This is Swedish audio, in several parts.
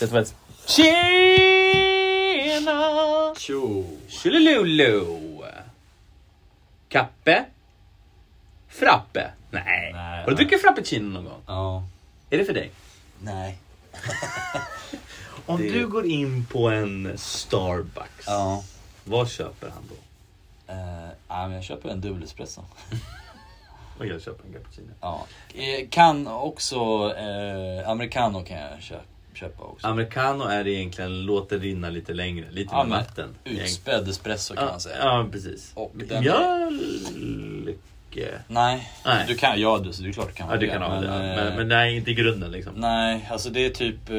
Det som helst. Tjena! Tjo! Tjolilolo! Kappe? Frappe? Nej. Nej, Har du nej. druckit frappuccino någon gång? Ja. Är det för dig? Nej. Om Det- du går in på en Starbucks, Ja. vad köper han då? Eh, Uh, men jag köper en dubbel espresso. Och jag köper en cappuccino. Ja. Eh, kan också... Eh, americano kan jag kö- köpa också. Americano är egentligen låt det rinna lite längre, lite Ja, med men vatten. egentligen. Utspädd espresso kan man säga. Ja, ja, precis. Och den- Mjölke? Nej. Nej. Du kan, ja du, så det är klart du kan Ja, du kan ha det. ja. eh, Men, men nej, inte i grunden liksom. Nej, alltså det är typ... Eh,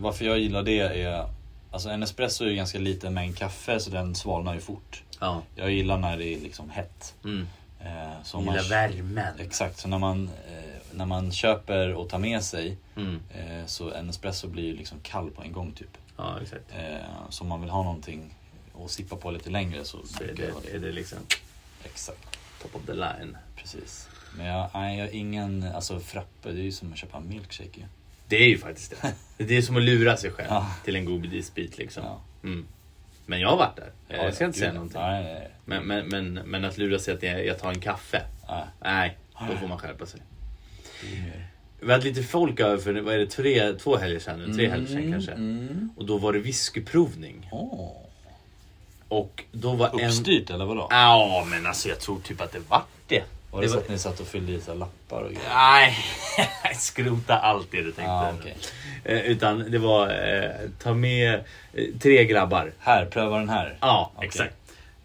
varför jag gillar det är... Alltså en espresso är ju ganska liten mängd kaffe så den svalnar ju fort. Ja. Jag gillar när det är liksom hett. Mm. Eh, så om man- Gillar värmen. Exakt, så när man, eh, när man köper och tar med sig Mm. eh, så en espresso blir ju liksom kall på en gång typ. Ja, exakt. Eh, så om man vill ha någonting att sippa på lite längre så, Så är brukar jag ha det, är det liksom Exakt, top of the line. precis. Men jag, nej, jag har ingen, alltså frappe det är ju som att köpa en milkshake ju. Det är ju faktiskt det. Det är som att lura sig själv Ja. till en godisbit liksom. Ja. Mm. Men jag har varit där. Eh, Ja, Jag ska inte gud, säga någonting. Nej, nej, nej. Men, men, men, men att lura sig att jag, jag tar en kaffe. nej. Nej, då får man skärpa sig. det är mer. Vi hade lite folk över för vad är det, tre, två helger sedan, eller tre helger sedan kanske. Mm. Och då var det whiskyprovning. Åh. Och då var en... Uppstyrt eller vadå? Ja, men alltså jag tror typ att det vart det. Var det, det så att ni satt och fyllde i så här lappar och grejer? Nej, skrota allt det du tänkte. Ah, okej. eh, utan det var eh, ta med eh, tre grabbar. Här, pröva den här. Ja, Okej. exakt.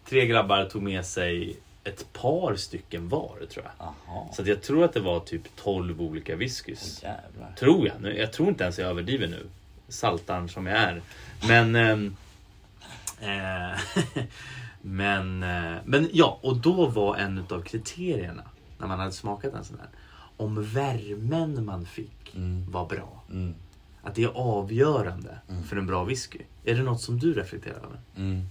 Tre grabbar tog med sig ett par stycken var tror jag. Jaha. Så att jag tror att det var typ 12 olika whiskys. Jävlar. Tror jag. Nu- Jag tror inte ens jag överdriver nu. Saltan som jag är. Men... ehm, eh, men, eh, men ja, och då var en av kriterierna när man hade smakat en sån här. Om värmen man fick Mm. var bra. Mm. Att det är avgörande för en bra whisky. Är det något som du reflekterar över? Mm.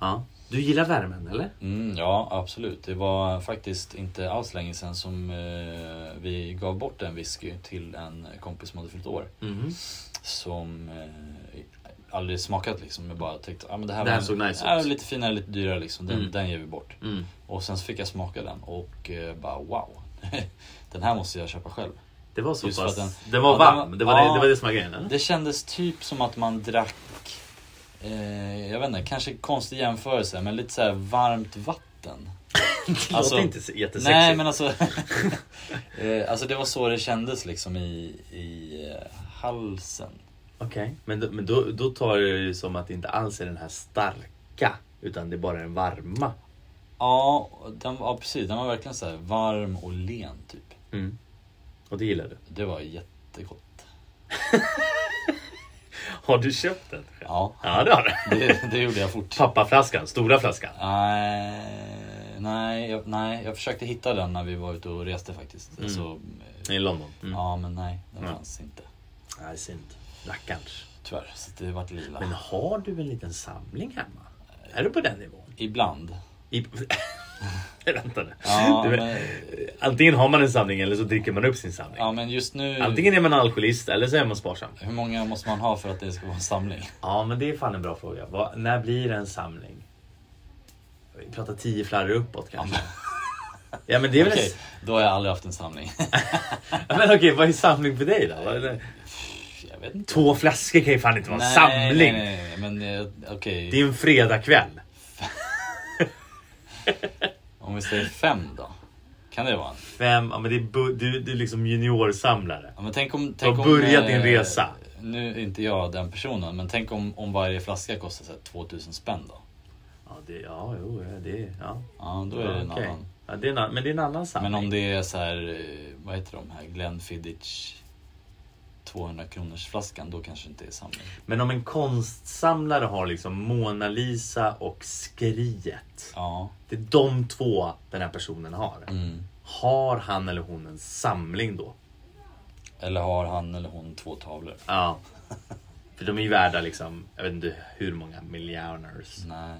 Ja. Du gillar värmen eller? Mm, ja, absolut. Det var faktiskt inte alls länge sedan som eh, vi gav bort en whisky till en kompis som hade fyllt år. Mhm. Mm-hmm. Som eh, aldrig smakat liksom. Jag bara tänkte ah, men det här, Det här var, såg nice ja, ut. lite finare, lite dyrare liksom. Den, Mm. den ger vi bort. Mm. Och sen så fick jag smaka den och eh, bara wow. den här måste jag köpa själv. Det var så Just för pass... att Den, den- var ja, den varm. var- det, var det, ja. det var det som var grejen eller? Det kändes typ som att man drack, eh, jag vet inte, kanske konstig jämförelse, men lite så här varmt vatten. Det alltså- låter inte så jättesexigt. Nej men alltså, eh, alltså det var så det kändes liksom i, i eh, halsen. Okej, men, då- men då, då tar jag det ju som att det inte alls är den här starka utan det är bara den varma. Ja, den, ja precis, den var verkligen så här varm och len typ. Och det gillar du. Det var jättegott. Har du köpt den? Ja, Ja det har du. det, det gjorde jag fort. Pappaflaskan, stora flaskan. Nej, nej, jag, nej, jag försökte hitta den när vi var ute och reste faktiskt. Så, eh, I London. Mm. ja men nej, den Ja. fanns inte. Nej, synd. Rackarns. Tyvärr, så det vart lila. Men har du en liten samling hemma? Är du på den nivån? Ibland. I... Vänta nu. Ja, Du- men, Antingen har man en samling eller så dricker man upp sin samling. ja, men just nu... Antingen är man alkoholist eller så är man sparsam. Hur många måste man ha för att det ska vara en samling? Ja men det är fan en bra fråga. Vad- när blir det en samling? Vi pratar tio flarror uppåt kanske. Ja men det är väl... Okej, då har jag aldrig haft en samling. Ja, men okej, vad är samling för dig då? Vad är det? jag vet inte. Två flaskor kan ju fan inte vara en samling. Nej, nej, nej, men eh, okej. Det är en fredagkväll. Om vi säger fem då? Kan det vara en? Fem, ja men det är bu- du, du är liksom juniorsamlare. Ja, men tänk om... Tänk har om, börjat eh, din resa. Nu är inte jag den personen, men tänk om, om varje flaska kostar så här, 2000 spänn då? Ja, det, ja jo, ja, det är... Ja. Ja, då är det en okej. annan. Ja, det är en, annan- men det är en annan samling. Men om det är så här, eh, vad heter de här, Glenfiddich 200 kronors flaskan då kanske det inte är samling. men om en konstsamlare har liksom Mona Lisa och Skriet. Ja. Det är de två den här personen har. Mm. Har han eller hon en samling då? Eller har han eller hon två tavlor? Ja. För de är ju värda liksom, jag vet inte hur många miljoners. Nej.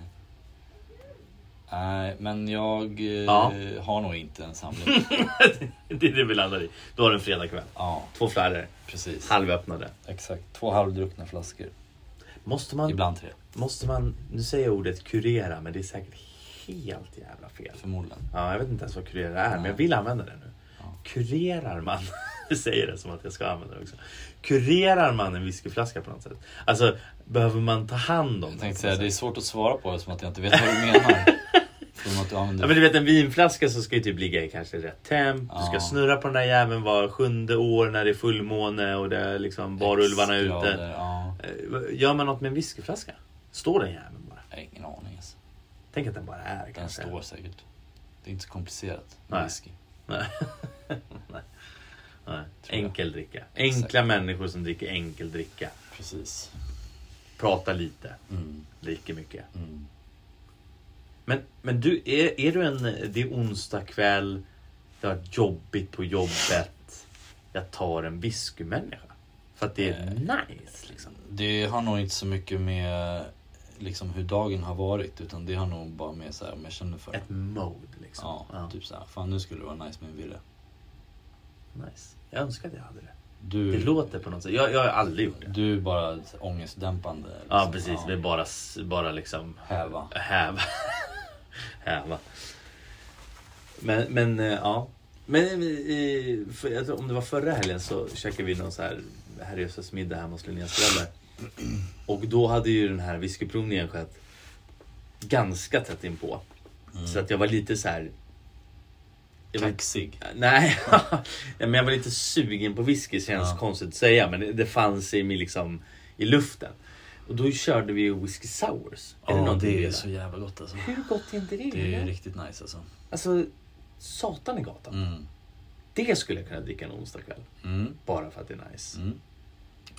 Nej, men jag eh, Ja. har nog inte en samling. Mm. Det är det vi landar i. Då har du en fredagkväll. ja, Två fladdrar, precis. halvöppnade. Exakt. Två halvdruckna flaskor. Måste man, Ibland tre, måste man, nu säger jag ordet kurera men det är säkert helt jävla fel. förmodligen. Ja, jag vet inte ens vad kurera är men jag vill använda det nu. Ja. Kurerar man, jag säger det som att jag ska använda det också. Kurerar man en whiskyflaska på något sätt? Alltså behöver man ta hand om Jag den? tänkte säga, det är svårt att svara på eftersom att jag inte vet vad du menar. Från att du Ja, använder... men du vet en vinflaska så ska ju typ ligga i kanske rätt temp. Du ska Ja. snurra på den där jäveln var sjunde år när det är fullmåne och det är liksom barulvarna är Extra- ute. Ja, Eh, Gör man något med en whiskyflaska? Står den jäveln bara? jag har ingen aning alltså. Tänk att den bara är Den kanske. står säkert. Det är inte så komplicerat. med Nej. Whisky. Nej. Nej. Nej. Tror jag. Enkel dricka. Exakt. Enkla människor som dricker enkel dricka. Precis. Pratar lite, Mm, dricker mycket. mm. Men, men du, är, är du en... Det är onsdag kväll, det har varit jobbigt på jobbet. Jag tar en whiskymänniska. För att det Eh. är nice liksom. Det har nog inte så mycket med liksom, hur dagen har varit utan det har nog bara med så här, om jag känner för det. Ett mode liksom. Ja, typ så här, fan nu skulle det vara nice med en virre. Nice. Jag önskar att jag hade det. Du, Det låter på något sätt. Jag, jag har aldrig gjort det. Du är bara så här, ångestdämpande. Liksom. Ja precis, vi bara, s- bara liksom Häva. Häva. Häva. Men, men eh, ja. Men i, för, jag tror, om det var förra helgen så käkade vi någon så här herrejösses middag hemma hos Linneas föräldrar. Och då hade ju den här whiskyprovningen skett ganska tätt inpå. Mm. Så att jag var lite så här. Jag var lite- Kaxig. Nej, ja, men jag var lite sugen på whisky känns Ja. konstigt att säga men det, det fanns i, mig liksom, i luften. Och då körde vi ju whisky sours. Är det Ja, någonting du det är gillar? så jävla gott alltså. Hur gott är inte det? Det är eller? riktigt nice alltså. Alltså, satan i gatan. Mm. Det skulle jag kunna dricka en onsdagkväll. Mm. Bara för att det är nice. Mm.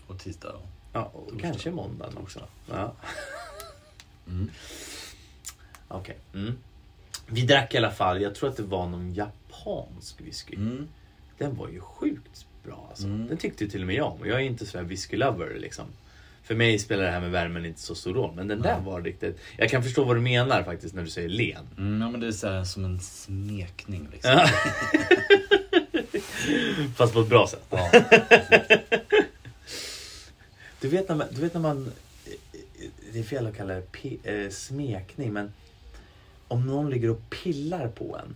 Och tisdag då. Ja, och kanske måndagen också. Ja. Mm. Okej. Mm. Vi drack i alla fall, jag tror att det var någon japansk whisky. Mm. Den var ju sjukt bra alltså. Mm. Den tyckte ju till och med jag om. Och jag är inte sådär whisky-lover liksom. För mig spelar det här med värmen inte så stor roll. Men den där var riktigt... Jag kan förstå vad du menar faktiskt när du säger len. Mm, ja men det är så här, som en smekning liksom. Ja. Fast på ett bra sätt. Ja. Du vet när man... Du vet när man det är fel att kalla det pe, eh, smekning, men om någon ligger och pillar på en,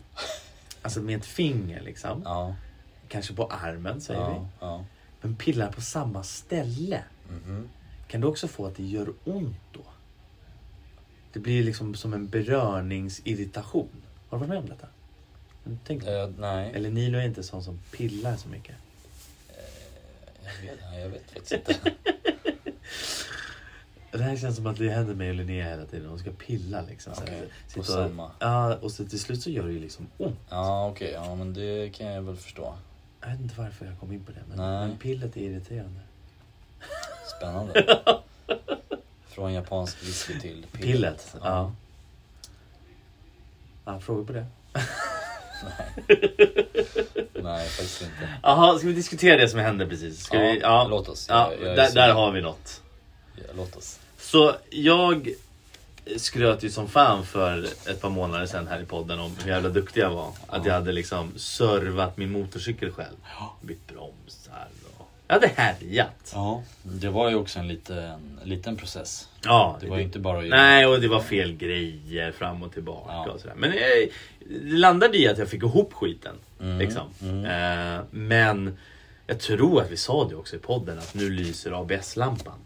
alltså med ett finger liksom, Ja. kanske på armen säger vi, Ja. ja. men pillar på samma ställe, Mhm. kan du också få att det gör ont då? Det blir liksom som en berörningsirritation. Har du varit med om detta? Tänk, Eh, nej. Eller Nilo är inte sån som pillar så mycket. Jag vet, nej, jag vet faktiskt inte. Det här känns som att det händer mig och Linnea hela tiden. Hon ska pilla liksom. så här. Okej, Sitta på och- samma. Ja, och så till slut så gör det ju liksom ont. Ja okej, ja men det kan jag väl förstå. Jag vet inte varför jag kom in på det, men, Nej. men pillet är irriterande. Spännande. Från japansk whisky till pillet. Pillet? Ja. ja. Frågor på det? Nej faktiskt inte. Jaha, ska vi diskutera det som hände precis? Ska Ja, vi, ja. låt oss. Ja, Jag- jag är där, så- där har vi något. Ja, låt oss. Så jag skröt ju som fan för ett par månader sedan här i podden om hur jävla duktig jag var. Att jag hade liksom servat min motorcykel själv. Bytt bromsar och... Jag hade härjat. Ja. Det var ju också en liten, liten process. Ja, Det var ju inte bara att Nej, och det var fel grejer fram och tillbaka Ja. och sådär. Men eh, det landade i att jag fick ihop skiten. Mm, Liksom. Eh, men jag tror att vi sa det också i podden att nu lyser ABS-lampan.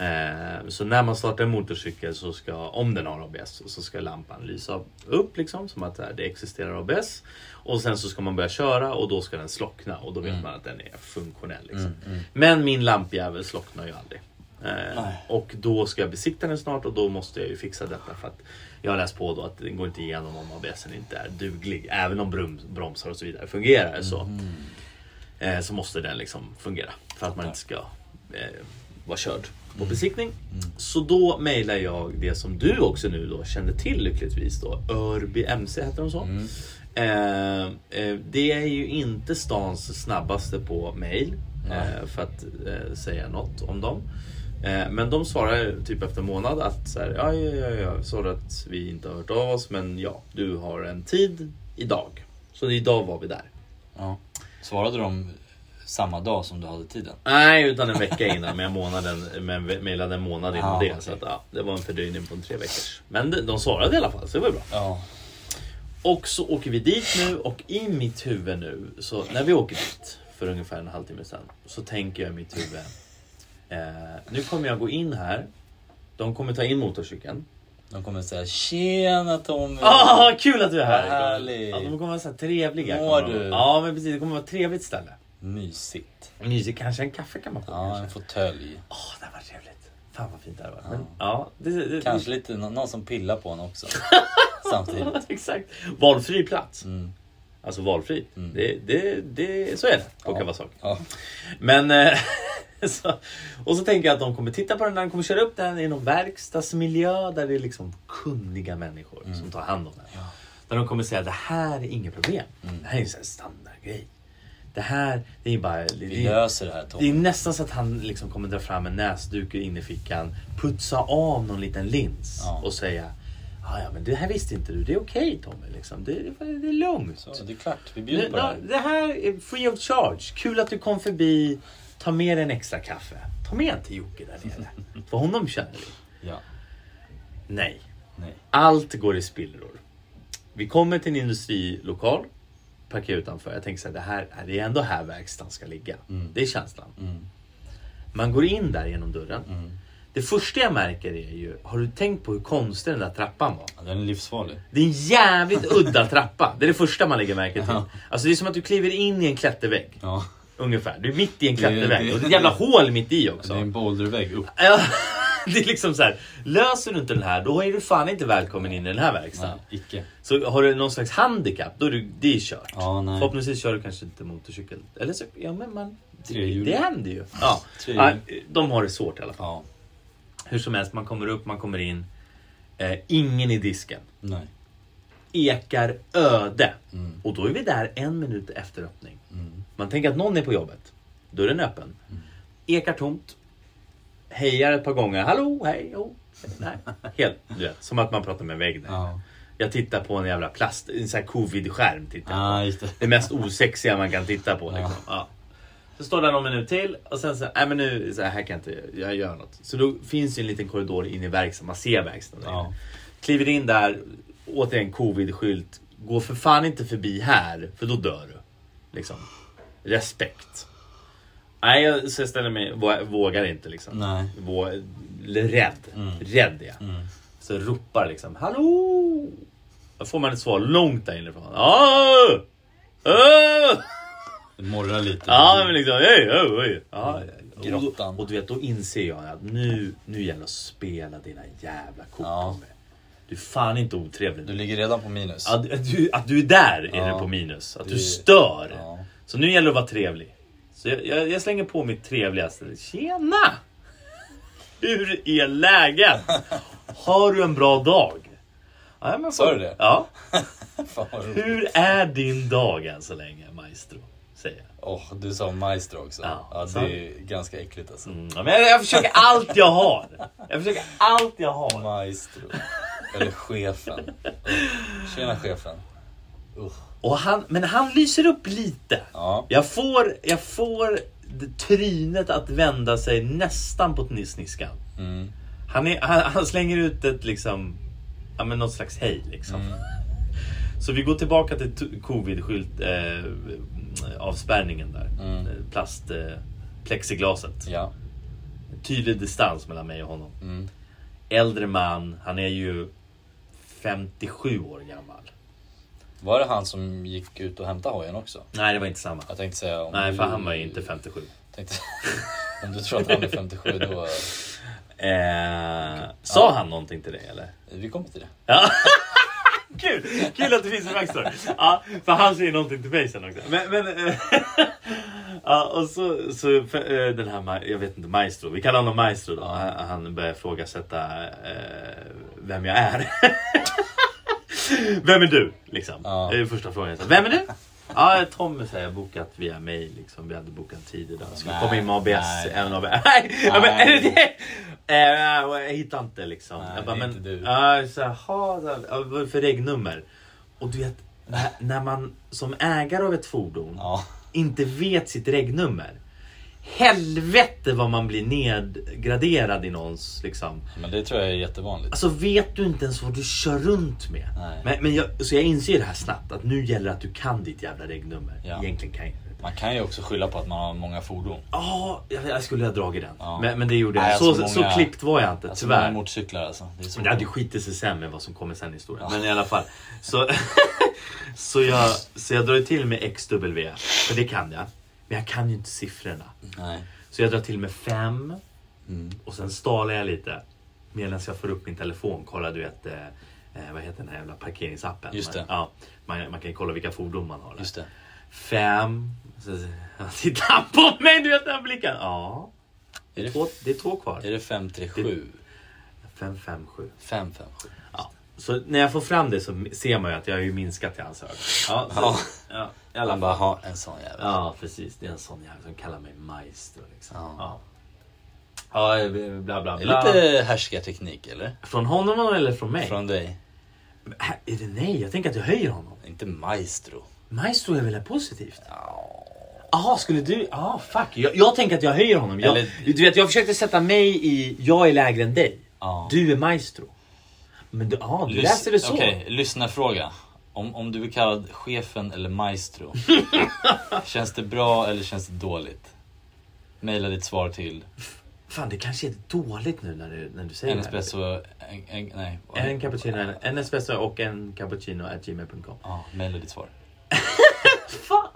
Eh, så när man startar en motorcykel, så ska, om den har ABS, så ska lampan lysa upp liksom. Som att eh, det existerar ABS. Och sen så ska man börja köra och då ska den slockna. Och då vet man att den är funktionell. Liksom. Men min lampjävel slocknar ju aldrig. Eh, Nej. och då ska jag besikta den snart och då måste jag ju fixa detta för att jag har läst på då att den går inte igenom om ABSen inte är duglig. Även om brum- bromsar och så vidare fungerar så, eh, så måste den liksom fungera för att man inte ska eh, vara körd på besiktning. Så då mejlar jag det som du också nu då kände till lyckligtvis då. Örby MC heter de så. Eh, eh, det är ju inte stans snabbaste på mejl. Eh, för att eh, säga något om dem. Eh, Men de svarade typ efter en månad att så här, ja, ja, ja, ja, sorry att vi inte har hört av oss, men ja, du har en tid idag. Så idag var vi där. Ja. Svarade de samma dag som du hade tiden? Nej, utan en vecka innan, men jag månaden, men vi mejlade en månad innan Ah, det. okej. Så att, ja, det var en fördröjning på en tre veckors. Men de, de svarade i alla fall, så det var ju bra. Ja. Och så åker vi dit nu och i mitt huvud nu, så när vi åker dit för ungefär en halvtimme sedan, så tänker jag i mitt huvud. Eh, nu kommer jag gå in här. De kommer ta in motorcykeln. De kommer säga Tjena Tommy! Ah, kul att du är här! Vad härligt. Ja, de kommer vara så här trevliga. Mår kommer de. du? Ja, men precis. Det kommer vara ett trevligt ställe. Mysigt. Mysigt. Kanske en kaffe kan man få. Ja, kanske. en fåtölj. Åh, det här var trevligt. Fan vad fint det här var. Men, ja, det, det, Kanske lite nå- någon som pillar på en också. Samtidigt. Exakt. Valfri plats. Mm. Alltså valfri. Det, det, det, så är det på Ja. Kawasaki. Ja. Men... eh, så, och så tänker jag att de kommer titta på den, de kommer köra upp den i någon verkstadsmiljö där det är liksom kunniga människor Mm. som tar hand om den. Där de kommer säga det här är inget problem. Mm. Det här är en sån här standardgrej. Det här, det är bara... Det, Vi det, löser det här Tommy. det är nästan så att han liksom kommer dra fram en näsduk in i fickan, putsa av någon liten lins Ja. och säga "Ja, ja, men det här visste inte du. Det är okej Tommy. Liksom. Det, det, det är lugnt. Så, det är klart, vi Nu, bjuder på det ja, här. det här är free of charge. Kul att du kom förbi. Ta med dig en extra kaffe. Ta med en till Jocke där nere. För honom känner vi. Ja. Nej. Nej. Allt går i spillror. Vi kommer till en industrilokal. Parkerar utanför. Jag tänker så här, det här det är ändå här verkstaden ska ligga. Det är känslan. Mm. Man går in där genom dörren. Det första jag märker är ju, har du tänkt på hur konstig den där trappan var? Ja, Den är livsfarlig. Det är en jävligt udda trappa. Det är det första man lägger märke till. Alltså det är som att du kliver in i en klättervägg. Ja. Ungefär. Du är mitt i en Det- klättervägg. det- Och det är ett jävla hål mitt i Det är också. en bouldervägg upp. Ja, Det är liksom så här. löser du inte den här då är du fan inte välkommen in i den här verkstaden. Nej, icke. Så har du någon slags handikapp då är du, det är kört. Ja, nej. Förhoppningsvis kör du kanske inte motorcykel. Eller så, ja men man... Trehjuling. Det händer ju. Ja. Trehjuling. Nej, De har det svårt i alla fall. Ja. Hur som helst, man kommer upp, man kommer in. Eh, ingen i disken. Nej. Ekar öde. Mm. Och då är vi där en minut efter öppning. Mm. Man tänker att någon är på jobbet. Dörren är öppen. Ekar tomt. Hejar ett par gånger. Hallå, hej, oh. Nej, helt du vet, Som att man pratar med en vägg. där. Ja. Jag tittar på en jävla plast, en sån här covid-skärm. typ. Tittar jag på. Ja, just det. Det mest osexiga man kan titta på. Liksom. Ja. Så står där någon minut till och sen så, nej men nu, så här, här kan jag inte jag göra något. Så då finns ju en liten korridor in i verkstaden, man ser verkstaden. där Ja. inne. Kliver in där, återigen covid-skylt. Gå för fan inte förbi här, för då dör du. Liksom. Respekt. Nej, jag, så jag ställer mig, vå- vågar inte liksom. Nej. Vå, rädd. Rädd är jag. Mm. Så ropar liksom, hallå! Då får man ett svar långt där inifrån. "Ah! Åh! Åh! Det morrar lite. Ja, men liksom... Hej, hej, hej. Ja, Grottan. Och, och du vet, då inser jag att nu, nu gäller det att spela dina jävla kort. Ja. Tommy. Du är fan inte otrevlig. Du ligger redan på minus. att, att, du, att du är där är Ja. det på minus. Att du, Du- stör. Ja. Så nu gäller det att vara trevlig. Så jag, jag, jag slänger på mitt trevligaste. Tjena! Hur är läget? Har du en bra dag? Ja, men, Sa du det? Ja. Fan vad roligt. Hur är din dag än så länge, maestro? Säger jag. Åh, du sa maestro också. Ja, Ja, sant. det är ganska äckligt alltså. Mm, ja, men jag, jag försöker allt jag har. Jag försöker allt jag har. Maestro. Eller chefen. Usch. Tjena chefen. Usch. Och han, men han lyser upp lite. Ja. Jag får, jag får det- trynet att vända sig nästan på sniskan. Mm. Han, är, han, han slänger ut ett liksom, ja men något slags hej liksom. Så vi går tillbaka till t- covid-skylt, eh, avspärrningen där. Mm. Eh, Plast, eh, plexiglaset. Ja. Tydlig distans mellan mig och honom. Mm. Äldre man, han är ju 57 år gammal. Var det han som gick ut och hämtade hojen också? Nej det var inte samma. Jag tänkte säga om Nej du, för han var ju inte 57. Tänkte, om du tror att han är 57 då... Eh, sa han någonting till dig eller? Vi kommer till det. Kul! Kul att det finns en backstory. Ja, för han säger någonting till mig sen också. Men, men, eh, ja, och så, så för, eh, den här, ma- jag vet inte, maestro. Vi kallar honom maestro då. Han, han börjar ifrågasätta eh, vem jag är. vem är du? Liksom. Ja. Det är första frågan. jag sa. Vem är du? Ja, Tommy säger bokat via mail. Liksom. Vi hade bokat tid idag. Skulle Nej, komma in med ABS. nej. Även om... Nej! ja, men är det det? Eh, Jag hittar inte liksom. Nej, jag bara, det är men, inte du. Ja, så här, "Ha, så här, ja, vad är det för regnummer? Och du vet, när- när man som ägare av ett fordon Ja. inte vet sitt regnummer. Helvete vad man blir nedgraderad i någons liksom. Men det tror jag är jättevanligt. Alltså vet du inte ens vad du kör runt med? Nej. Men, men jag, så jag inser det här snabbt att nu gäller det att du kan ditt jävla regnummer. Ja. Egentligen kan jag inte. Man kan ju också skylla på att man har många fordon. Ja, jag, jag skulle ha dragit den. Ja. Men, men det gjorde jag. Nej, så, alltså så många- klippt var jag inte Alltså tyvärr. många motorcyklar alltså. Det är så Men det hade ju skitit sig sen med vad som kommer sen i historien. Men i alla fall. Så, så, jag, så jag drar ju till med XW. För det kan jag. Men jag kan ju inte siffrorna. Nej. Så jag drar till med fem. Mm. Och sen stalar jag lite. Medan jag får upp min telefon. Kollar du vet, eh, eh, vad heter den här jävla parkeringsappen? Just det. Man, ja, man, man kan ju kolla vilka fordon man har. där. Just det. Fem. Så, så tittar han på mig, du vet den här blicken. Ja, Är det, två, det är två kvar. är det 537? Fem, fem, sju. 557? Ja. Så när jag får fram det så ser man ju att jag har ju minskat i hans ögon. Ja, Ja. så, ja, i alla Han fall. bara, ha en sån jävel. Ja, precis. Det är en sån jävel som kallar mig maestro. Liksom. Ja. Ja. ja, bla bla Det bla. är lite härskarteknik eller? Från honom eller från mig? Från dig? Men här- Är det nej? Jag tänker att jag höjer honom. Inte maestro. Maestro är väl positivt? Ja. Jaha, skulle du... Ja, fuck. Jag, jag tänker att jag höjer honom. Jag, Eller- Du vet, jag försökte sätta mig i... Jag är lägre än dig. Ja. Du är maestro. Men du, ja, du läser det så. Okej, lyssna fråga. Om, om du blir kallad chefen eller maestro. känns det bra eller känns det dåligt? Maila ditt svar till Fan, det kanske är dåligt nu när du, när du säger en det. espresso... En, en, nej. här. En cappuccino, en, en espresso och en cappuccino at gmail.com. Ja, maila ditt svar. Fan!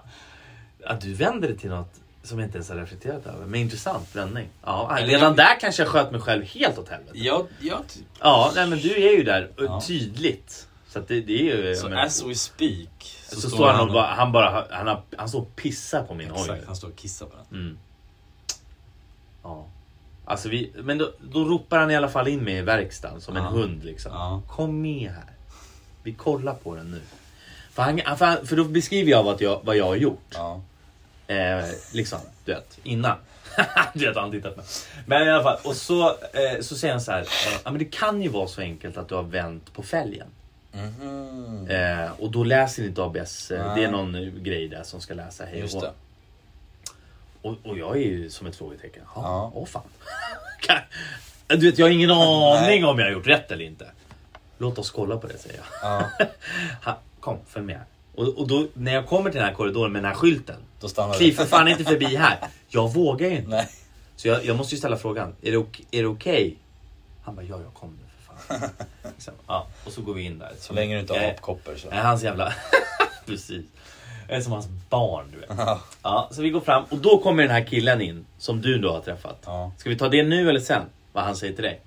Att du vänder det till något som jag inte ens har reflekterat över. Men intressant vändning. Ja, Eller redan jag- där kanske jag sköt mig själv helt åt helvete. Jag, jag, Ja, nej, men du är ju där och Ja. tydligt. Så att det, det är ju... så men- as we speak så, Så, står han och bara, han bara, han, har, han står och pissar på min hoj. Exakt, han står och kissar på den. Mm. Ja. Alltså vi, men då, då ropar han i alla fall in mig i verkstaden som Ja. en hund liksom. Ja. Kom med här. Vi kollar på den nu. För, han, han- för, han, för då beskriver jag vad jag, vad jag har gjort. Ja. Eh, liksom, du vet, innan. du vet, han tittat på mig. Men i alla fall, och så, eh, så säger han så här. Eh, ja, men det kan ju vara så enkelt att du har vänt på fälgen. Mhm. Eh, och då läser inte ABS. Eh, det Nej. är någon eh, grej där som ska läsa hej Just och hå. det. Och, och jag är ju som ett frågetecken. Ja, Ja. åh fan. Kan- Eh, du vet, jag har ingen aning Nej. om jag har gjort rätt eller inte. Låt oss kolla på det säger jag. Ja. Ha, kom, följ med. Och, och då, när jag kommer till den här korridoren med den här skylten. Då stannar Kliv det. för fan inte förbi här. Jag vågar ju inte. Nej. Så jag, jag måste ju ställa frågan. Är det, ok- är det okej? Han bara, ja, jag kom nu för fan. Liksom, ja, och så går vi in där. Så länge du inte har Eh, apkoppor så. Nej, hans jävla... Precis. Jag är som hans barn, du vet. Ja, så vi går fram och då kommer den här killen in som du då har träffat. Ja. Ska vi ta det nu eller sen? Vad han säger till dig?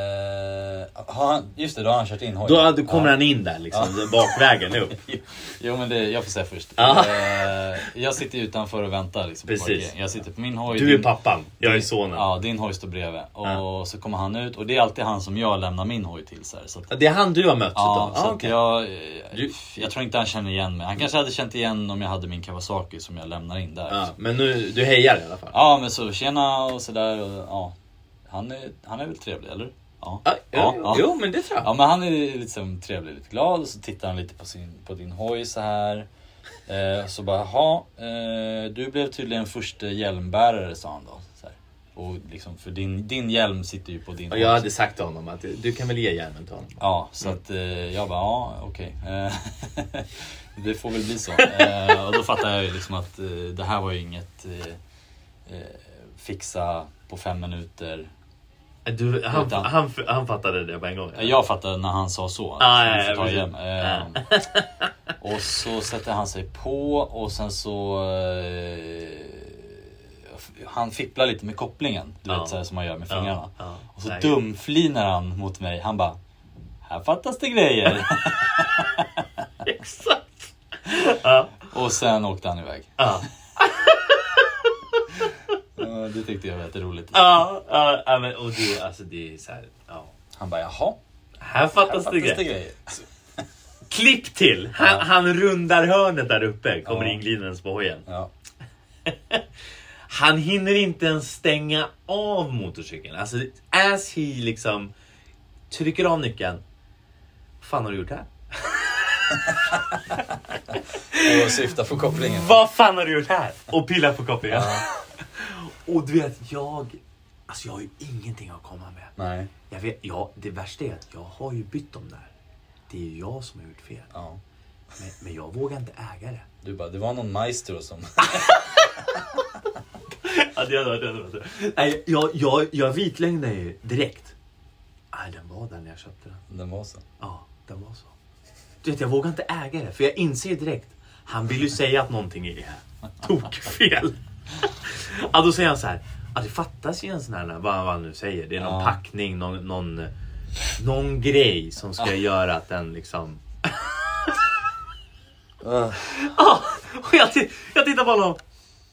Eh, har han, just det, då har han kört in hojen. Då, då kommer han in där liksom, bakvägen upp. Jo men det, jag får säga först. Ja. Eh, jag sitter ju utanför och väntar liksom, på Precis. parkeringen. Jag sitter på min hoj. Du är din- pappan, jag är sonen. Ja, din hoj står bredvid. Och Ja. så kommer han ut och det är alltid han som jag lämnar min hoj till. Så här, så att, Det är han du har mött? Ja, utav. så Ah, att okej. jag, Du- jag tror inte han känner igen mig. Han kanske hade känt igen om jag hade min Kawasaki som jag lämnar in där. ja, men nu, du hejar i alla fall? Ja men så tjena och sådär. och, Ja. Han, är, han är väl trevlig eller? Ja. Ja, ja, ja. Jo, men det tror jag. Ja men han är liksom trevlig, lite glad och så tittar han lite på, sin, på din hoj så här. Eh, så bara, jaha, eh, du blev tydligen första hjälmbärare sa han då. Så här. Och liksom, för din, din hjälm sitter ju på din Och hoj. jag hade sagt till honom att du kan väl ge hjälmen till honom? Ja, så att eh, jag bara, ja okej. Eh, det får väl bli så. Eh, och då fattar jag ju liksom att eh, det här var ju inget eh, eh, fixa på fem minuter. Äh, Du, han, Utan- han, han fattade det på en gång? Eh, Jag fattade när han sa så. att Ah, han ja, får ja, ta precis. igen. Eh, och så sätter han sig på och sen så... Eh, han fipplar lite med kopplingen. Du Ja. vet så här som man gör med Ja, fingrarna. ja. Och så Nej. dumflinar han mot mig. Han bara, här fattas det grejer. Exakt! ja. och sen åkte han iväg. Ja. Eh, Det tyckte jag var jätteroligt. Ja, ja, ja, men och det, alltså det är så här, ja. Han bara, jaha. Här fattas det grejer. grejer. Klipp till! Han, Ja. han rundar hörnet där uppe, kommer Ja. inglidandes på hojen. Ja. Han hinner inte ens stänga av motorcykeln. Alltså, as he liksom trycker av nyckeln. Vad fan har du gjort här? Och syftar på kopplingen. Vad fan har du gjort här? Och pillar på kopplingen. Ja. Och du vet, jag... Alltså jag har ju ingenting att komma med. Nej. Jag vet, ja, det värsta är att jag har ju bytt dem där. Det är ju jag som har gjort fel. Ja. Men, men jag vågar inte äga det. Du bara, det var någon maestro som... Ja, det hade varit- det hade varit- Nej, jag, jag, jag vitlängdade ju direkt. Nej, den var där när jag köpte den. Den var så. Ja, den var så. Du vet, jag vågar inte äga det för jag inser ju direkt. Han vill ju säga att någonting är tokfel. ja, då säger han så här. Ja, det fattas ju en sån här, vad vad han nu säger. Det är någon Ja. packning, någon, någon, någon grej som ska göra att den liksom... Ah. Ugh. Ja, och jag, t- jag tittar på honom.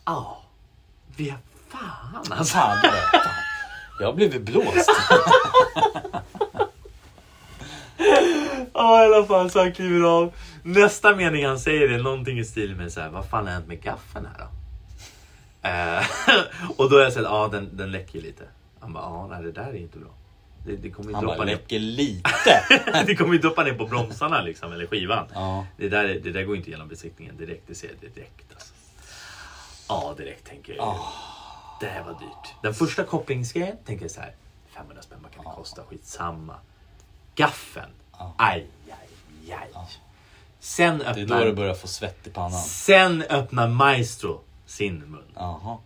Ja, vi är fan alltså. Fan, det var- fan. Jag blev ju blåst. Ja i alla fall så han kliver av. Nästa mening han säger är någonting i stil med så här, vad fan har hänt med gaffen här då? Eh, och då har jag sett, ja ah, den, den läcker lite. Han bara, ja nej det där är inte bra. Det, det kommer ju Han bara, droppa ner. läcker lite. det kommer ju droppa ner på bromsarna liksom, eller skivan. Ja. Det, där, är- det där går ju inte genom besiktningen direkt, det ser jag direkt. Alltså. Ja direkt tänker jag ju. Ah. Det här var dyrt. Den första kopplingsgrejen tänker jag så här, 500 spänn vad kan Ah. det kosta, skitsamma. Gaffen, Ja. aj, aj, aj. Sen Ah. Det är då du öppnar, börjar få svett i pannan. sen öppnar Maestro sin mun. Jaha.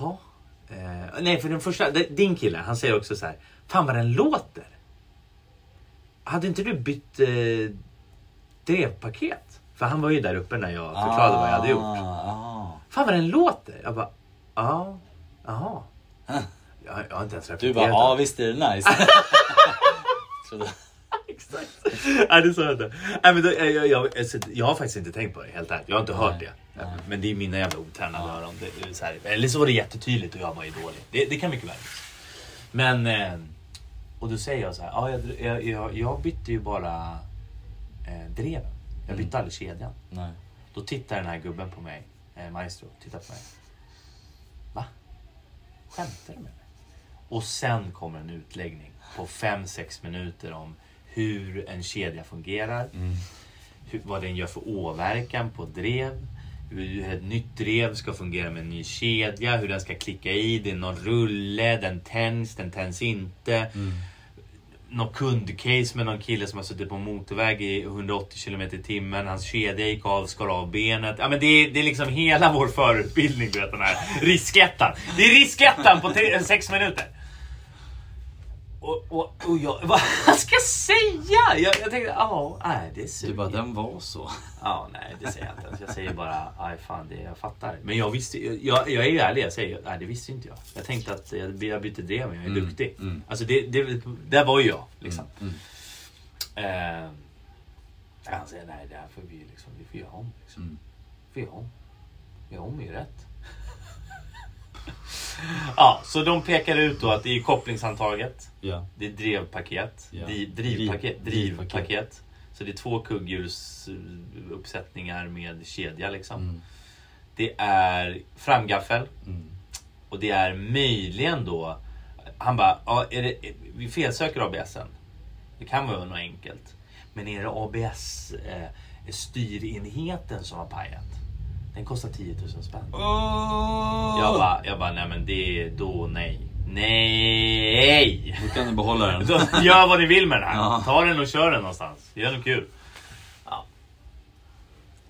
Jaha. Eh, nej, för den första, d- din kille, han säger också så här. Fan vad den låter. Hade inte du bytt eh, drevpaket? För han var ju där uppe när jag förklarade vad jag hade gjort. Ah, ah. Fan vad den låter. Jag bara, ja, jaha. Jag, jag har inte ens Du reflekterat bara, över ja ah, visst är det nice. Trodde- Exakt. Nej, det sa jag inte. Nej, men då, jag, jag, jag, alltså, jag har faktiskt inte tänkt på det helt ärligt. Jag har inte hört det. Men det är mina jävla otränade öron. Det, det är så här. Eller så var det jättetydligt och jag var ju dålig. Det, det kan mycket väl vara. Men... eh, Och då säger jag så här. Ja, jag, jag, jag, jag bytte ju bara eh, dreven. Jag bytte aldrig kedjan. Nej. Då tittar den här gubben på mig, eh, maestro, tittar på mig. Va? Skämtar du med mig? Och sen kommer en utläggning på 5-6 minuter om hur en kedja fungerar, hur, vad den gör för åverkan på drev, hur ett nytt drev ska fungera med en ny kedja, hur den ska klicka i, det är någon rulle, den tänds, den tänds inte något kundcase med någon kille som har suttit på en motorväg i 180 km i timmen. Hans kedja gick av, skar av benet. Ja, men det, är, det är liksom hela vår förutbildning, du vet den här riskettan. Det är riskettan på tre, sex minuter. Och, och, och jag, vad ska jag säga? Jag, jag tänkte, ja, nej det Du suger. bara, den var så. Ja, nej det säger jag inte ens. Jag säger bara, aj fan det jag fattar. Men jag visste jag, jag, jag är ju ärlig, jag säger, nej det visste inte jag. Jag tänkte att jag, jag bytte drev, men jag är duktig. Alltså det, det, där var ju jag liksom. Eh, han säger, nej det här får vi ju liksom, vi får göra om. Liksom. Mm. Vi får göra om. Vi gör om är ju rätt. ja, så de pekar ut då att det är kopplingsantaget. Ja. Det är drevpaket. Ja. Driv, drivpaket. Driv- Drivpaket. drivpaket. Så det är två kugghjulsuppsättningar med kedja liksom. Mm. Det är framgaffel Mm. och det är möjligen då... Han bara, ja, är det, vi felsöker ABSen. Det kan vara något enkelt. Men är det ABS eh, styrenheten som har pajat? Den kostar 10 000 spänn. Ah. Jag bara, jag bara, nej men det är då nej. Nej! Då kan du behålla den. Så, Gör vad ni vill med den här. Ja. Ta den och kör den någonstans. Gör något kul. Ja.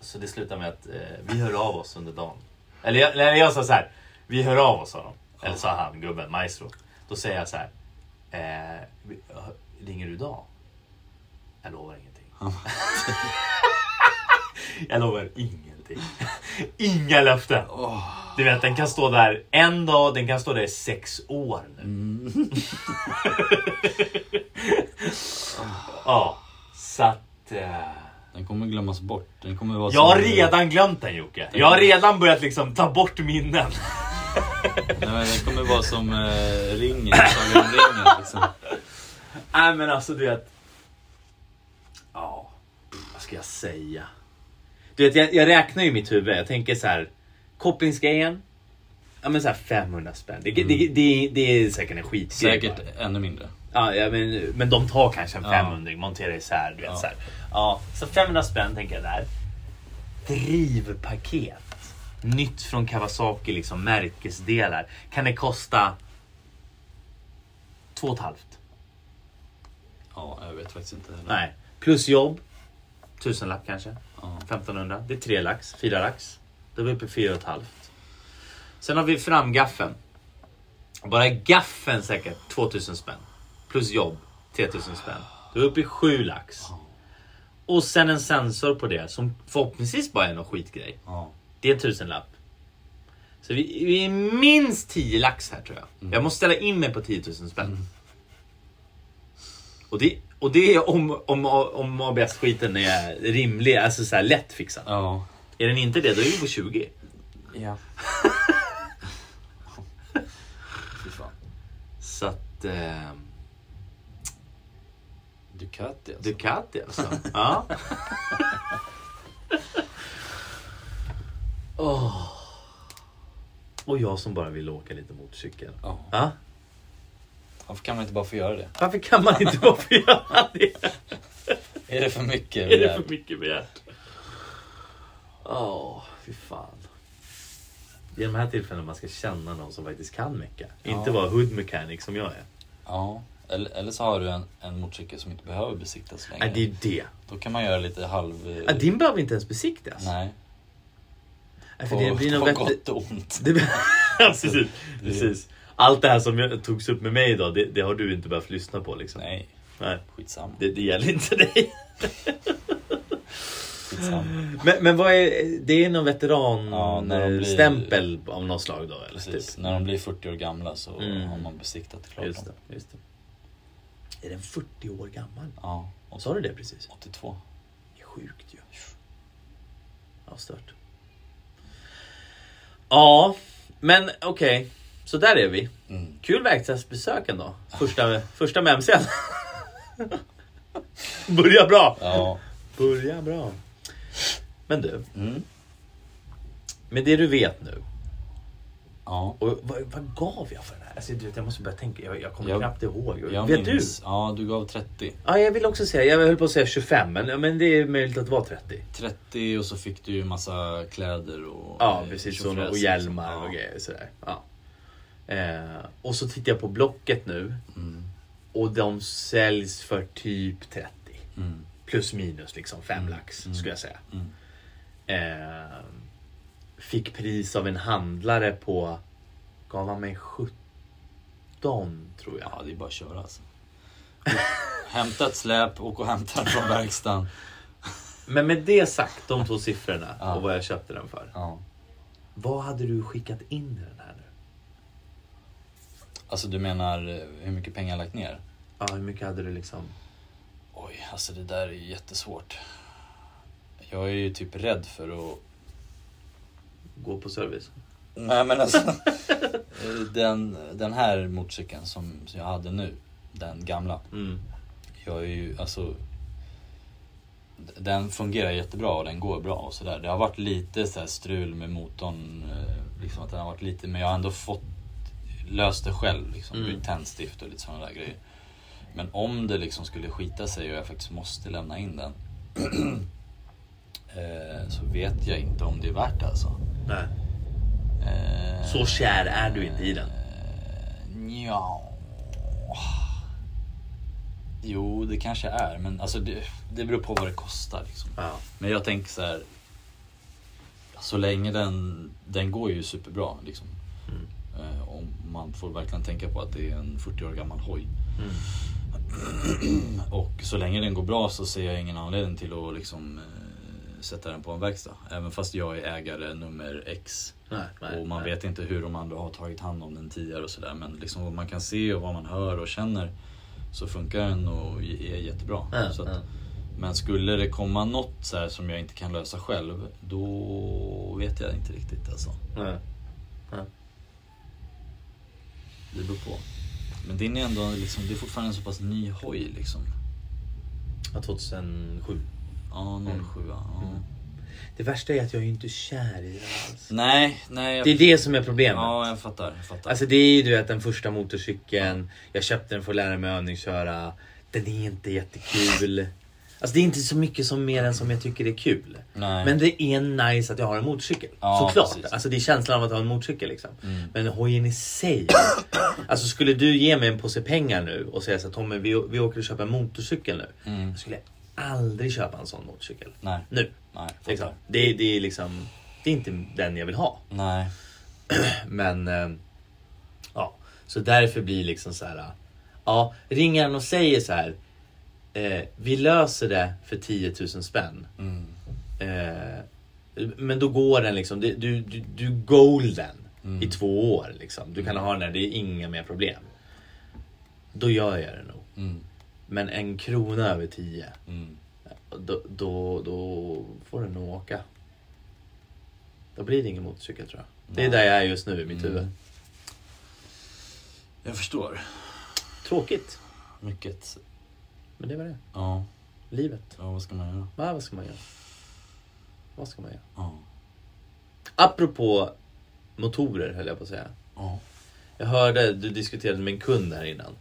Så det slutar med att eh, vi hör av oss under dagen. Eller jag, eller jag sa så här. Vi hör av oss honom. Eller sa han, gubben, maestro. Då säger jag så här. Eh, vi- hör- ringer du idag? Jag lovar ingenting. jag lovar ingenting. Inga löften. Du vet, den kan stå där en dag, den kan stå där i sex år nu. Mm. Ja, så att... eh, Den kommer glömmas bort. Den kommer vara jag har som- redan glömt den Jocke. Jag har redan börjat liksom ta bort minnen. Nej, men den kommer vara som eh, ringen. Sagan om ringen liksom. Nej men alltså du vet. Ja. Vad ska ska jag säga? Du vet, jag, jag räknar ju i mitt huvud. Jag tänker så här. Kopplingsgrejen. Ja men så här 500 spänn. Det, det, det, det är säkert en skitgrej. Säkert bara. ännu mindre. Ja, ja, men, men de tar kanske en Ja. 500 monterar isär. Du vet, Ja. så, här. Ja, så 500 spänn tänker jag där. Drivpaket. Nytt från Kawasaki, liksom märkesdelar. Kan det kosta två och ett halvt? Ja, jag vet faktiskt inte heller. Nej. Plus jobb. Tusenlapp kanske. Ja. 1500. Det är tre lax, fyra lax. Då är vi uppe i fyra och ett halvt. Sen har vi framgaffeln. Bara gaffeln säkert 2000 spänn. Plus jobb 3000 spänn. Då är vi uppe i sju lax. Och sen en sensor på det som förhoppningsvis bara är någon skitgrej. Ja. Det är en tusenlapp. Så vi, vi är minst 10 lax här tror jag. Jag måste ställa in mig på 10 000 spänn. Och, det, och det är om, om, om ABS-skiten är rimlig, alltså så här lättfixad. Ja. Är den inte det, då är vi på 20. Ja. Fy fan. Så att... Eh, Ducati alltså. Ducati alltså. ja. Åh. Och jag som bara vill åka lite motorcykel. Ja. Ja. Varför kan man inte bara få göra det? Varför kan man inte bara få göra det? Är det för mycket? Är det begärt? för mycket begärt? Åh, fy fan. Det är de här tillfällena man ska känna någon som faktiskt kan mycket. Inte vara hood mechanic som jag är. Ja. Eller, eller så har du en, en motorcykel som inte behöver besiktas längre. Nej, det är det. Då kan man göra lite halv... Ja, din behöver inte ens besiktas. Nej. Nej, På, för det blir nog på bättre... gott och ont. Det, precis, precis. Allt det här som jag, togs upp med mig idag, det, det har du inte behövt lyssna på. Liksom. Nej, Nej, skitsamma. det, det gäller inte dig. skitsamma. Men, men vad är, det är någon Ja, när de blir- veteranstämpel av någon slag då? Eller? Precis. Typ. När de blir 40 år gamla så Mm. har man besiktat klart Just dem. det, just det. Är den 40 år gammal? Ja. Och Sa du det precis? 82. Det är sjukt ju. Ja, stört. Ja, men okej. Så där är vi. Mm. Kul verkstadsbesök ändå. Första, första med MC'n. Börja bra. Ja. Börja bra. Men du, Mm. med det du vet nu. Ja. Och vad, vad gav jag för den här? Alltså, du vet, jag måste börja tänka. Jag, jag kommer Jag- knappt ihåg. Jag vet minns. du? Ja, du gav 30. Ja, jag vill också säga. Jag höll på att säga 25, men, ja, men det är möjligt att det var 30. 30 och så fick du ju massa kläder och... Ja, eh, precis. tjofräs Så, och liksom. hjälmar och Ja. grejer. Sådär. Ja. Eh, och så tittar jag på Blocket nu. Mm. Och de säljs för typ 30. Mm. Plus minus liksom 5 lax skulle jag säga. Mm. Eh, fick pris av en handlare på, gav han mig 17 tror jag. Ja, det är bara att köra alltså. Hämta ett släp, åk och hämta den från verkstaden. Men med det sagt, de två siffrorna Ja. och vad jag köpte den för. Ja. Vad hade du skickat in i den här nu? Alltså du menar eh, hur mycket pengar jag lagt ner? Ja, hur mycket hade du liksom? Oj, alltså det där är ju jättesvårt. Jag är ju typ rädd för att... Gå på service? Nej men alltså. eh, den, den här motorcykeln som som jag hade nu, den gamla. Mm. Jag är ju, alltså. d- Den fungerar jättebra och den går bra och sådär. Det har varit lite så här strul med motorn. eh, Liksom att den har varit lite, men jag har ändå fått löst det själv. Liksom, Mm. med tändstift och lite sådana där grejer. Men om det liksom skulle skita sig och jag faktiskt måste lämna in den. eh, så vet jag inte om det är värt det alltså. Nej. Eh, Så kär är du inte i den. Ja. Jo, det kanske är, men alltså det, det beror på vad det kostar. Liksom. Ja. Men jag tänker så här. Så länge den, den går ju superbra. Liksom. Mm. Eh, om man får verkligen tänka på att det är en 40 år gammal hoj. Mm. Och så länge den går bra så ser jag ingen anledning till att liksom, eh, sätta den på en verkstad. Även fast jag är ägare nummer X. Nej, nej, och man nej. vet inte hur de andra har tagit hand om den tidigare och sådär. Men liksom vad man kan se och vad man hör och känner så funkar den och är jättebra. Ja, så att, ja. Men skulle det komma något så här som jag inte kan lösa själv, då vet jag inte riktigt alltså. Nej. Nej. Det beror på. Men din är ändå liksom, det är fortfarande en så pass ny hoj liksom. Ja, 2007. Ja, 07 ja. Mm. Det värsta är att jag är ju inte kär i den alls. Nej, nej. Jag... Det är det som är problemet. Ja, jag fattar. Jag fattar. Alltså det är ju du vet den första motorcykeln. Jag köpte den för att lära mig övningsköra. Den är inte jättekul. Alltså det är inte så mycket som mer än som jag tycker är kul. Nej. Men det är nice att jag har en motorcykel. Ja, Såklart. precis. Mm. Alltså det är känslan av att ha en motorcykel liksom. Men hojen i sig. Alltså skulle du ge mig en påse pengar nu och säga så här, Tommy vi, vi åker och köper en motorcykel nu. Mm. Jag skulle aldrig köpa en sån motorcykel. Nej. Nu. Nej, Liksom. fattar. Det, det är liksom. Det är inte den jag vill ha. Nej. Men eh, ja, så därför blir liksom så här. Ja, ringer han och säger så här. Eh, vi löser det för 10 000 spänn. Mm. Eh, men då går den liksom. Du, du, du- du golden Mm, i två år liksom. Du kan ha den där. Det är inga mer problem. Då gör jag det nog. Mm. Men en krona över 10. Mm. Då, då, då får den nog åka. Då blir det ingen motorcykel tror jag. Det är där jag är just nu i mitt huvud. Jag förstår. Tråkigt. Mycket. Men det var det. Ja. Livet. ja, vad ska man göra? Va, vad ska man göra? Vad ska man göra? Ja. Apropå motorer höll jag på att säga. ja. Jag hörde, du diskuterade med en kund här innan.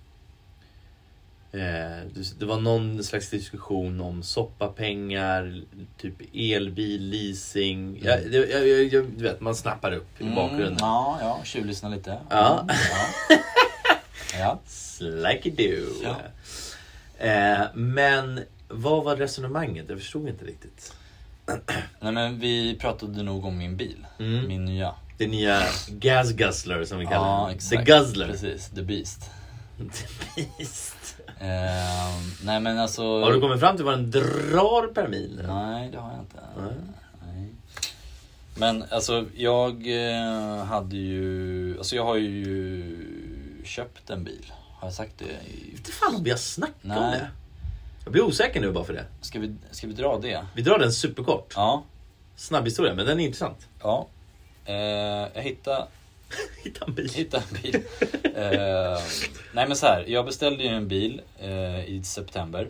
Eh, du- Det var någon slags diskussion om soppapengar, typ elbil, leasing. Jag, det- jag, jag, jag, du vet, man snappar upp i bakgrunden. Mm, ja, ja. Tjuvlyssna lite. Ja. Mm, ja. ja. Slackidoo. Ja. Eh, men vad var resonemanget? Jag förstod inte riktigt. Nej men vi pratade nog om min bil. Mm. Min nya. Det nya Gas Guzzler som vi kallar Ja, den. exakt. The Guzzler. Precis, The Beast. The Beast. Ehm, nej men alltså... Har du kommit fram till vad den drar per mil? Nej, det har jag inte. Nej. Nej. Men alltså jag eh, hade ju... Alltså jag har ju köpt en bil. Har jag sagt det? i- inte fan om vi har snackat om Nej. det. Jag blir osäker nu bara för det. Ska vi, ska vi dra det? Vi drar den superkort. Ja. Snabb historia, men den är intressant. ja. Eh, jag hittade Hitta en bil. Hitta en bil. Eh, nej men så här, jag beställde ju en bil eh, i september.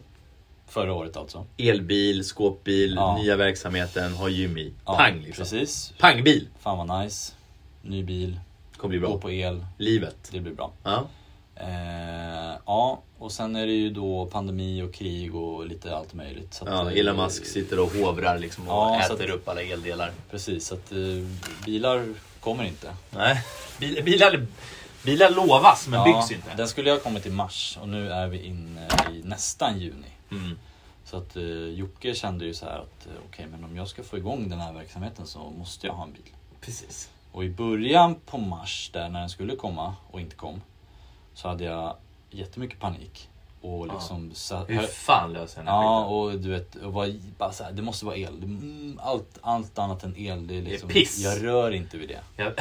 Förra året alltså. Elbil, skåpbil, Ja. nya verksamheten, har gym i. Ja, Pang liksom. Precis. Pangbil. Fan vad nice. Ny bil, Kommer bli gå bra. på el, Livet. det blir bra. Ja. Eh, ja, och sen är det ju då pandemi och krig och lite allt möjligt. Så att, Ja, eh, Elon Musk sitter och hovrar liksom och Ja, så äter att- upp alla eldelar. Precis, så att eh, bilar kommer inte. Nej. Bil, bilar, bilar lovas men byggs inte. Den skulle ha kommit i mars och nu är vi inne i nästan juni. Mm. Så att eh, Jocke kände ju så här att eh, okej, men om jag ska få igång den här verksamheten så måste jag ha en bil. Precis. Och i början på mars där när den skulle komma och inte kom så hade jag jättemycket panik. Och liksom sa- Hur fan löser den här Ja skiten? och du vet, och var, bara så här, det måste vara el. Det- mm, Allt, allt annat än el, det är liksom, piss. jag rör inte vid det. Jag,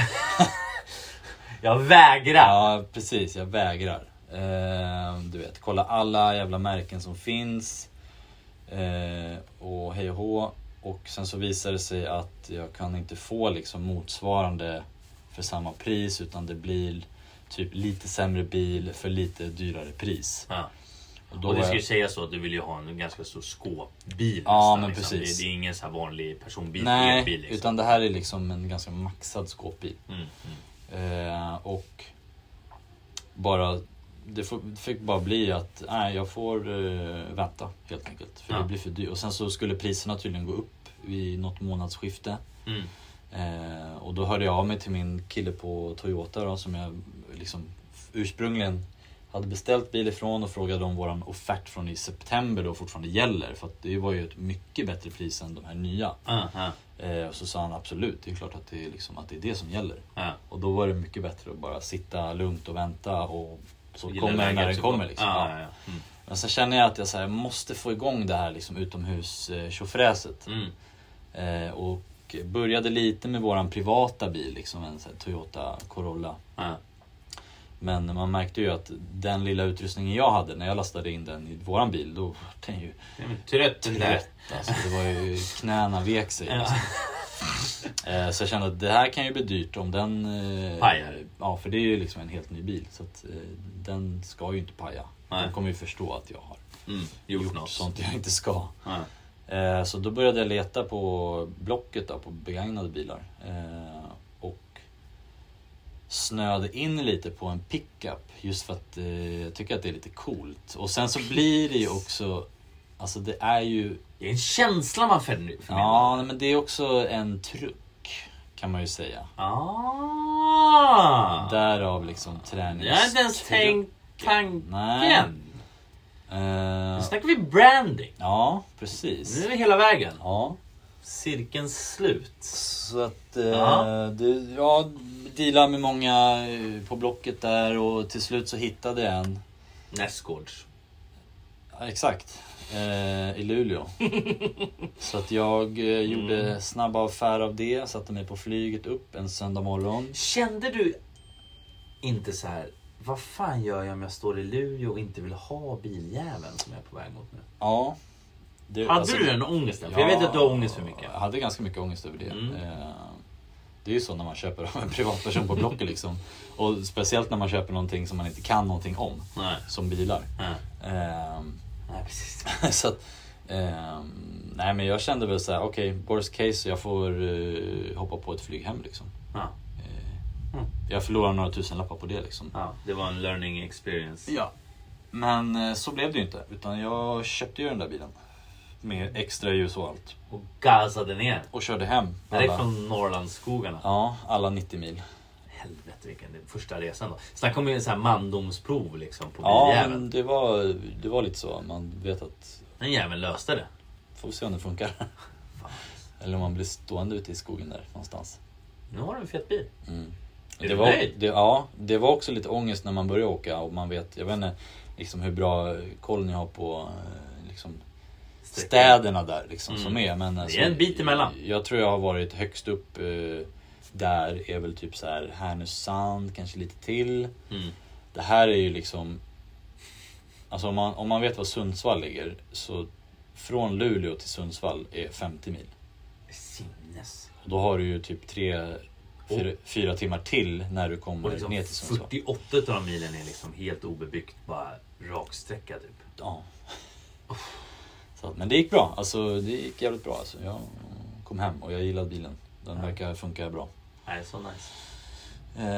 jag vägrar. Ja precis, jag vägrar. Eh, du vet, kolla alla jävla märken som finns. Eh, och hej och hå. Och sen så visar det sig att jag kan inte få liksom motsvarande för samma pris utan det blir typ lite sämre bil för lite dyrare pris. Ja. Och då Och det var ska ju jag, sägas så att du vill ju ha en ganska stor skåpbil. Ja, nästan, men liksom. precis. Det, det är ingen så här vanlig personbil. elbil, nej, liksom. utan det här är liksom en ganska maxad skåpbil. Mm, mm. Eh, och bara, det får- fick bara bli att nej, jag får eh, vänta helt enkelt. För Ja. det blir för dyrt. Och sen så skulle priserna tydligen gå upp vid något månadsskifte. Mm. Eh, och då hörde jag av mig till min kille på Toyota då, som jag liksom ursprungligen hade beställt bil ifrån och frågade om våran offert från i september då fortfarande gäller. För att det var ju ett mycket bättre pris än de här nya. Ja, ja, Eh, och så sa han absolut, det är klart att det är, liksom, att det, är det som gäller. ja. Och då var det mycket bättre att bara sitta lugnt och vänta och så Gillar kommer den när läget den så kommer. bra. Liksom. Ja, Ja. ja, ja. Mm. Men sen känner jag att jag så här, måste få igång det här liksom, utomhus-tjofräset. Mm. Eh, och började lite med våran privata bil, liksom, en så här, Toyota Corolla. Ja. Men man märkte ju att den lilla utrustningen jag hade när jag lastade in den i våran bil, då var den ju Ja, men Trött den där. trött. Alltså, det var ju knäna vek sig. Liksom. Eh, Så jag kände att det här kan ju bli dyrt om den... eh, Pajar. Ja, för det är ju liksom en helt ny bil. Så att eh, den ska ju inte paja. Nej. Den kommer ju förstå att jag har Mm. Gjort gjort något. sånt jag inte ska. Ja. Eh, Så då började jag leta på Blocket då, på begagnade bilar. Eh, Och snöade in lite på en pickup just för att eh, jag tycker att det är lite coolt. Och sen så blir det ju också, alltså det är ju Det är en känsla man förmedlar. Ja, men det är också en truck kan man ju säga. Ah. Därav liksom tränings... Jag har inte ens tänkt tanken. Nej. Nu Eh, snackar vi branding. ja, Nu precis. är vi hela vägen. Ja. Cirkelns slut. Så att... Eh, Ja. det, jag dealade med många eh, på Blocket där och till slut så hittade jag en. Nästgårds. Ja, Exakt. Eh, I Luleå. så att jag eh, Mm. gjorde snabb affär av det. Satte mig på flyget upp en söndag morgon. Kände du inte så här, vad fan gör jag om jag står i Luleå och inte vill ha biljäveln som jag är på väg mot nu? Ja. Det, Hade alltså- du den ångesten? För jag vet att du har ångest för mycket. Jag hade ganska mycket ångest över det. Mm. Eh, Det är ju så när man köper av en privatperson på Blocket liksom. Och speciellt när man köper någonting som man inte kan någonting om. Nej. Som bilar. Nej. Ehm, Nej, precis. så att, ehm, nej men jag kände väl såhär, okej, worst case, jag får eh, hoppa på ett flyg hem liksom. Ja, Eh, Mm. Jag förlorar några tusenlappar på det liksom. ja, det var en learning experience. Ja. Men eh, så blev det ju inte. Utan jag köpte ju den där bilen. Med extra ljus och allt. Och gasade ner. Och körde hem. Direkt alla- från Norrlandsskogarna. Ja, alla 90 mil. Helvete vilken det första resan då. Snacka om en sån här mandomsprov liksom på Ja, biljäveln. men det var, det var lite så. Man vet att... Den jäveln löste det. Får vi se om det funkar. Fan. Eller om man blir stående ute i skogen där någonstans. Nu har du en fet bil. Mm. Är det, du var, nöjd? det, ja, det var också lite ångest när man började åka och man vet, jag vet inte liksom hur bra koll ni har på eh, liksom, städerna där liksom, Mm. som är. Men, alltså, en bit emellan. Jag tror jag har varit högst upp eh, där är väl typ så här Härnösand, kanske lite till. Mm. Det här är ju liksom... Alltså om man, om man vet var Sundsvall ligger så från Luleå till Sundsvall är 50 mil. Sinnes. Och då har du ju typ tre, fyra, fyra timmar till när du kommer Oh. Och liksom ner till Sundsvall. 48 av de milen är liksom helt obebyggt. Bara raksträcka typ. Ja. Så, att- men det gick bra. Alltså det gick jävligt bra. Alltså, jag kom hem och jag gillade bilen. Den Ja. verkar funka bra. Nej, så nice.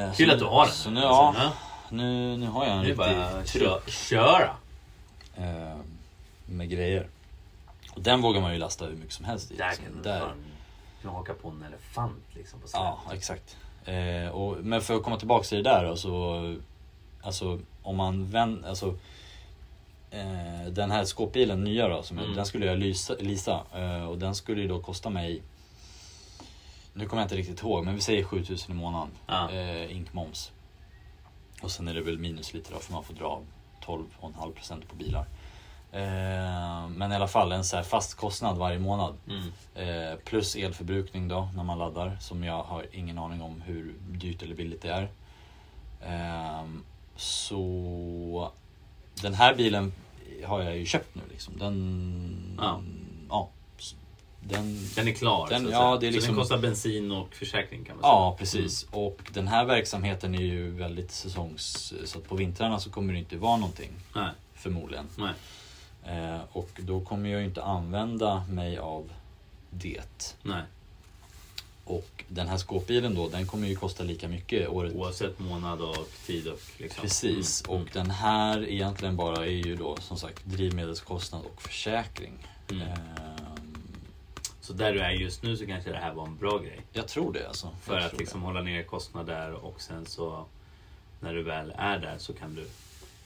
Eh, Kul så- att du har den. Så nu, Alltså, ja, nu, nu har jag en nu, nu bara riktig truck. kö- köra. eh, med grejer. Och den vågar man ju lasta hur mycket som helst i. Där liksom. kan du Där- fan kunna haka på en elefant liksom. På Ja, exakt. Eh, och, men för att komma tillbaka till det där då, så... Alltså om man vänder... Alltså, eh, den här skåpbilen, nya då, som jag, Mm. den skulle jag lysa, lisa. Eh, och den skulle ju då kosta mig... Nu kommer jag inte riktigt ihåg, men vi säger 7000 i månaden. Ja. Eh, Inkmoms. Och sen är det väl minus lite då, för man får dra av 12,5% på bilar. Eh, men i alla fall en så här fast kostnad varje månad. Mm. Eh, plus elförbrukning då när man laddar som jag har ingen aning om hur dyrt eller billigt det är. Ehm, så den här bilen har jag ju köpt nu liksom. Den... Ja. ja s- den Den är klar. Den- så att ja, säga. det är Så liksom- den kostar bensin och försäkring kan man säga. ja, precis. Och den här verksamheten är ju väldigt säsongs... Så att på vintrarna så kommer det inte vara någonting Nej, förmodligen. nej. Eh, och då kommer jag ju inte använda mig av det. Nej, Och den här skåpbilen då, den kommer ju kosta lika mycket året oavsett månad och tid och liksom. Precis, Mm. och den här egentligen bara är ju då som sagt drivmedelskostnad och försäkring. Mm. eh, Ehm, Så där du är just nu så kanske det här var en bra grej. Jag tror det alltså. För Jag att tror liksom hålla ner kostnader och sen så när du väl är där så kan du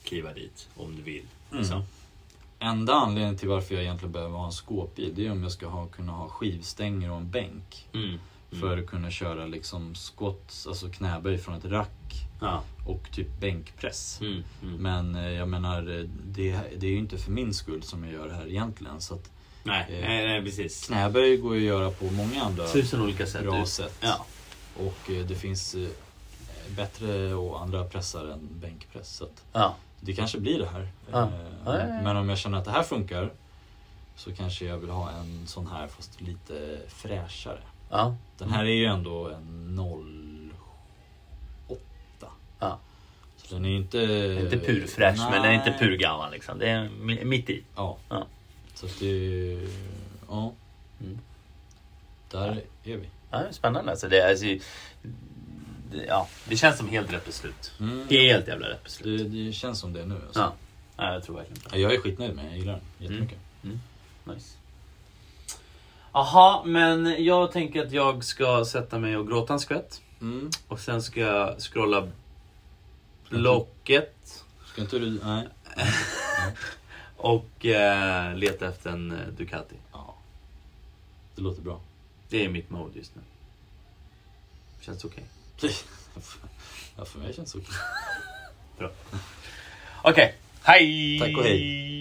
kliva dit om du vill. Mm. Liksom. det. Enda anledningen till varför jag egentligen behöver ha en skåpbil det är om jag ska ha, kunna ha skivstänger och en bänk. Mm. Mm. För att kunna köra liksom skott, alltså knäböj från ett rack Ja. och typ bänkpress. Mm. Mm. Men eh, jag menar, eh, det, det är ju inte för min skull som jag gör det här egentligen. Så att nej, eh, nej, nej, precis. knäböj går ju att göra på många andra Tusen olika sätt. bra ut. sätt. Typ. Ja. Och eh, det finns eh, bättre och andra pressar än bänkpress. Så att Ja. det kanske blir det här. Ja. Eh, Ja, ja, ja. Men om jag känner att det här funkar så kanske jag vill ha en sån här fast lite fräschare. Ja. Den här är ju ändå en 08. Ja. Så den är ju inte... Eh, Inte purfräsch men den är inte purgammal liksom. Det är mi- mitt i. Ja. Ja. Så att det... Ja. Ja. Mm. Där är vi. Ja, det är spännande. Alltså, det, är- alltså, det, ja, det känns som helt rätt beslut. Mm. Helt jävla rätt beslut. Det, det känns som det nu. Alltså. Ja. ja, jag tror verkligen Ja, Jag är skitnöjd med den, jag gillar den jättemycket. det. Nice. Jaha, men jag tänker att jag ska sätta mig och gråta en skvätt. Mm. Och sen ska jag scrolla Blocket. Ska inte du... Nej. Och eh, leta efter en eh, Ducati. Ja. Det låter bra. Det är mitt mode just nu. Känns okej. ja, för mig känns det okej. Okej, hej! Tack och hej.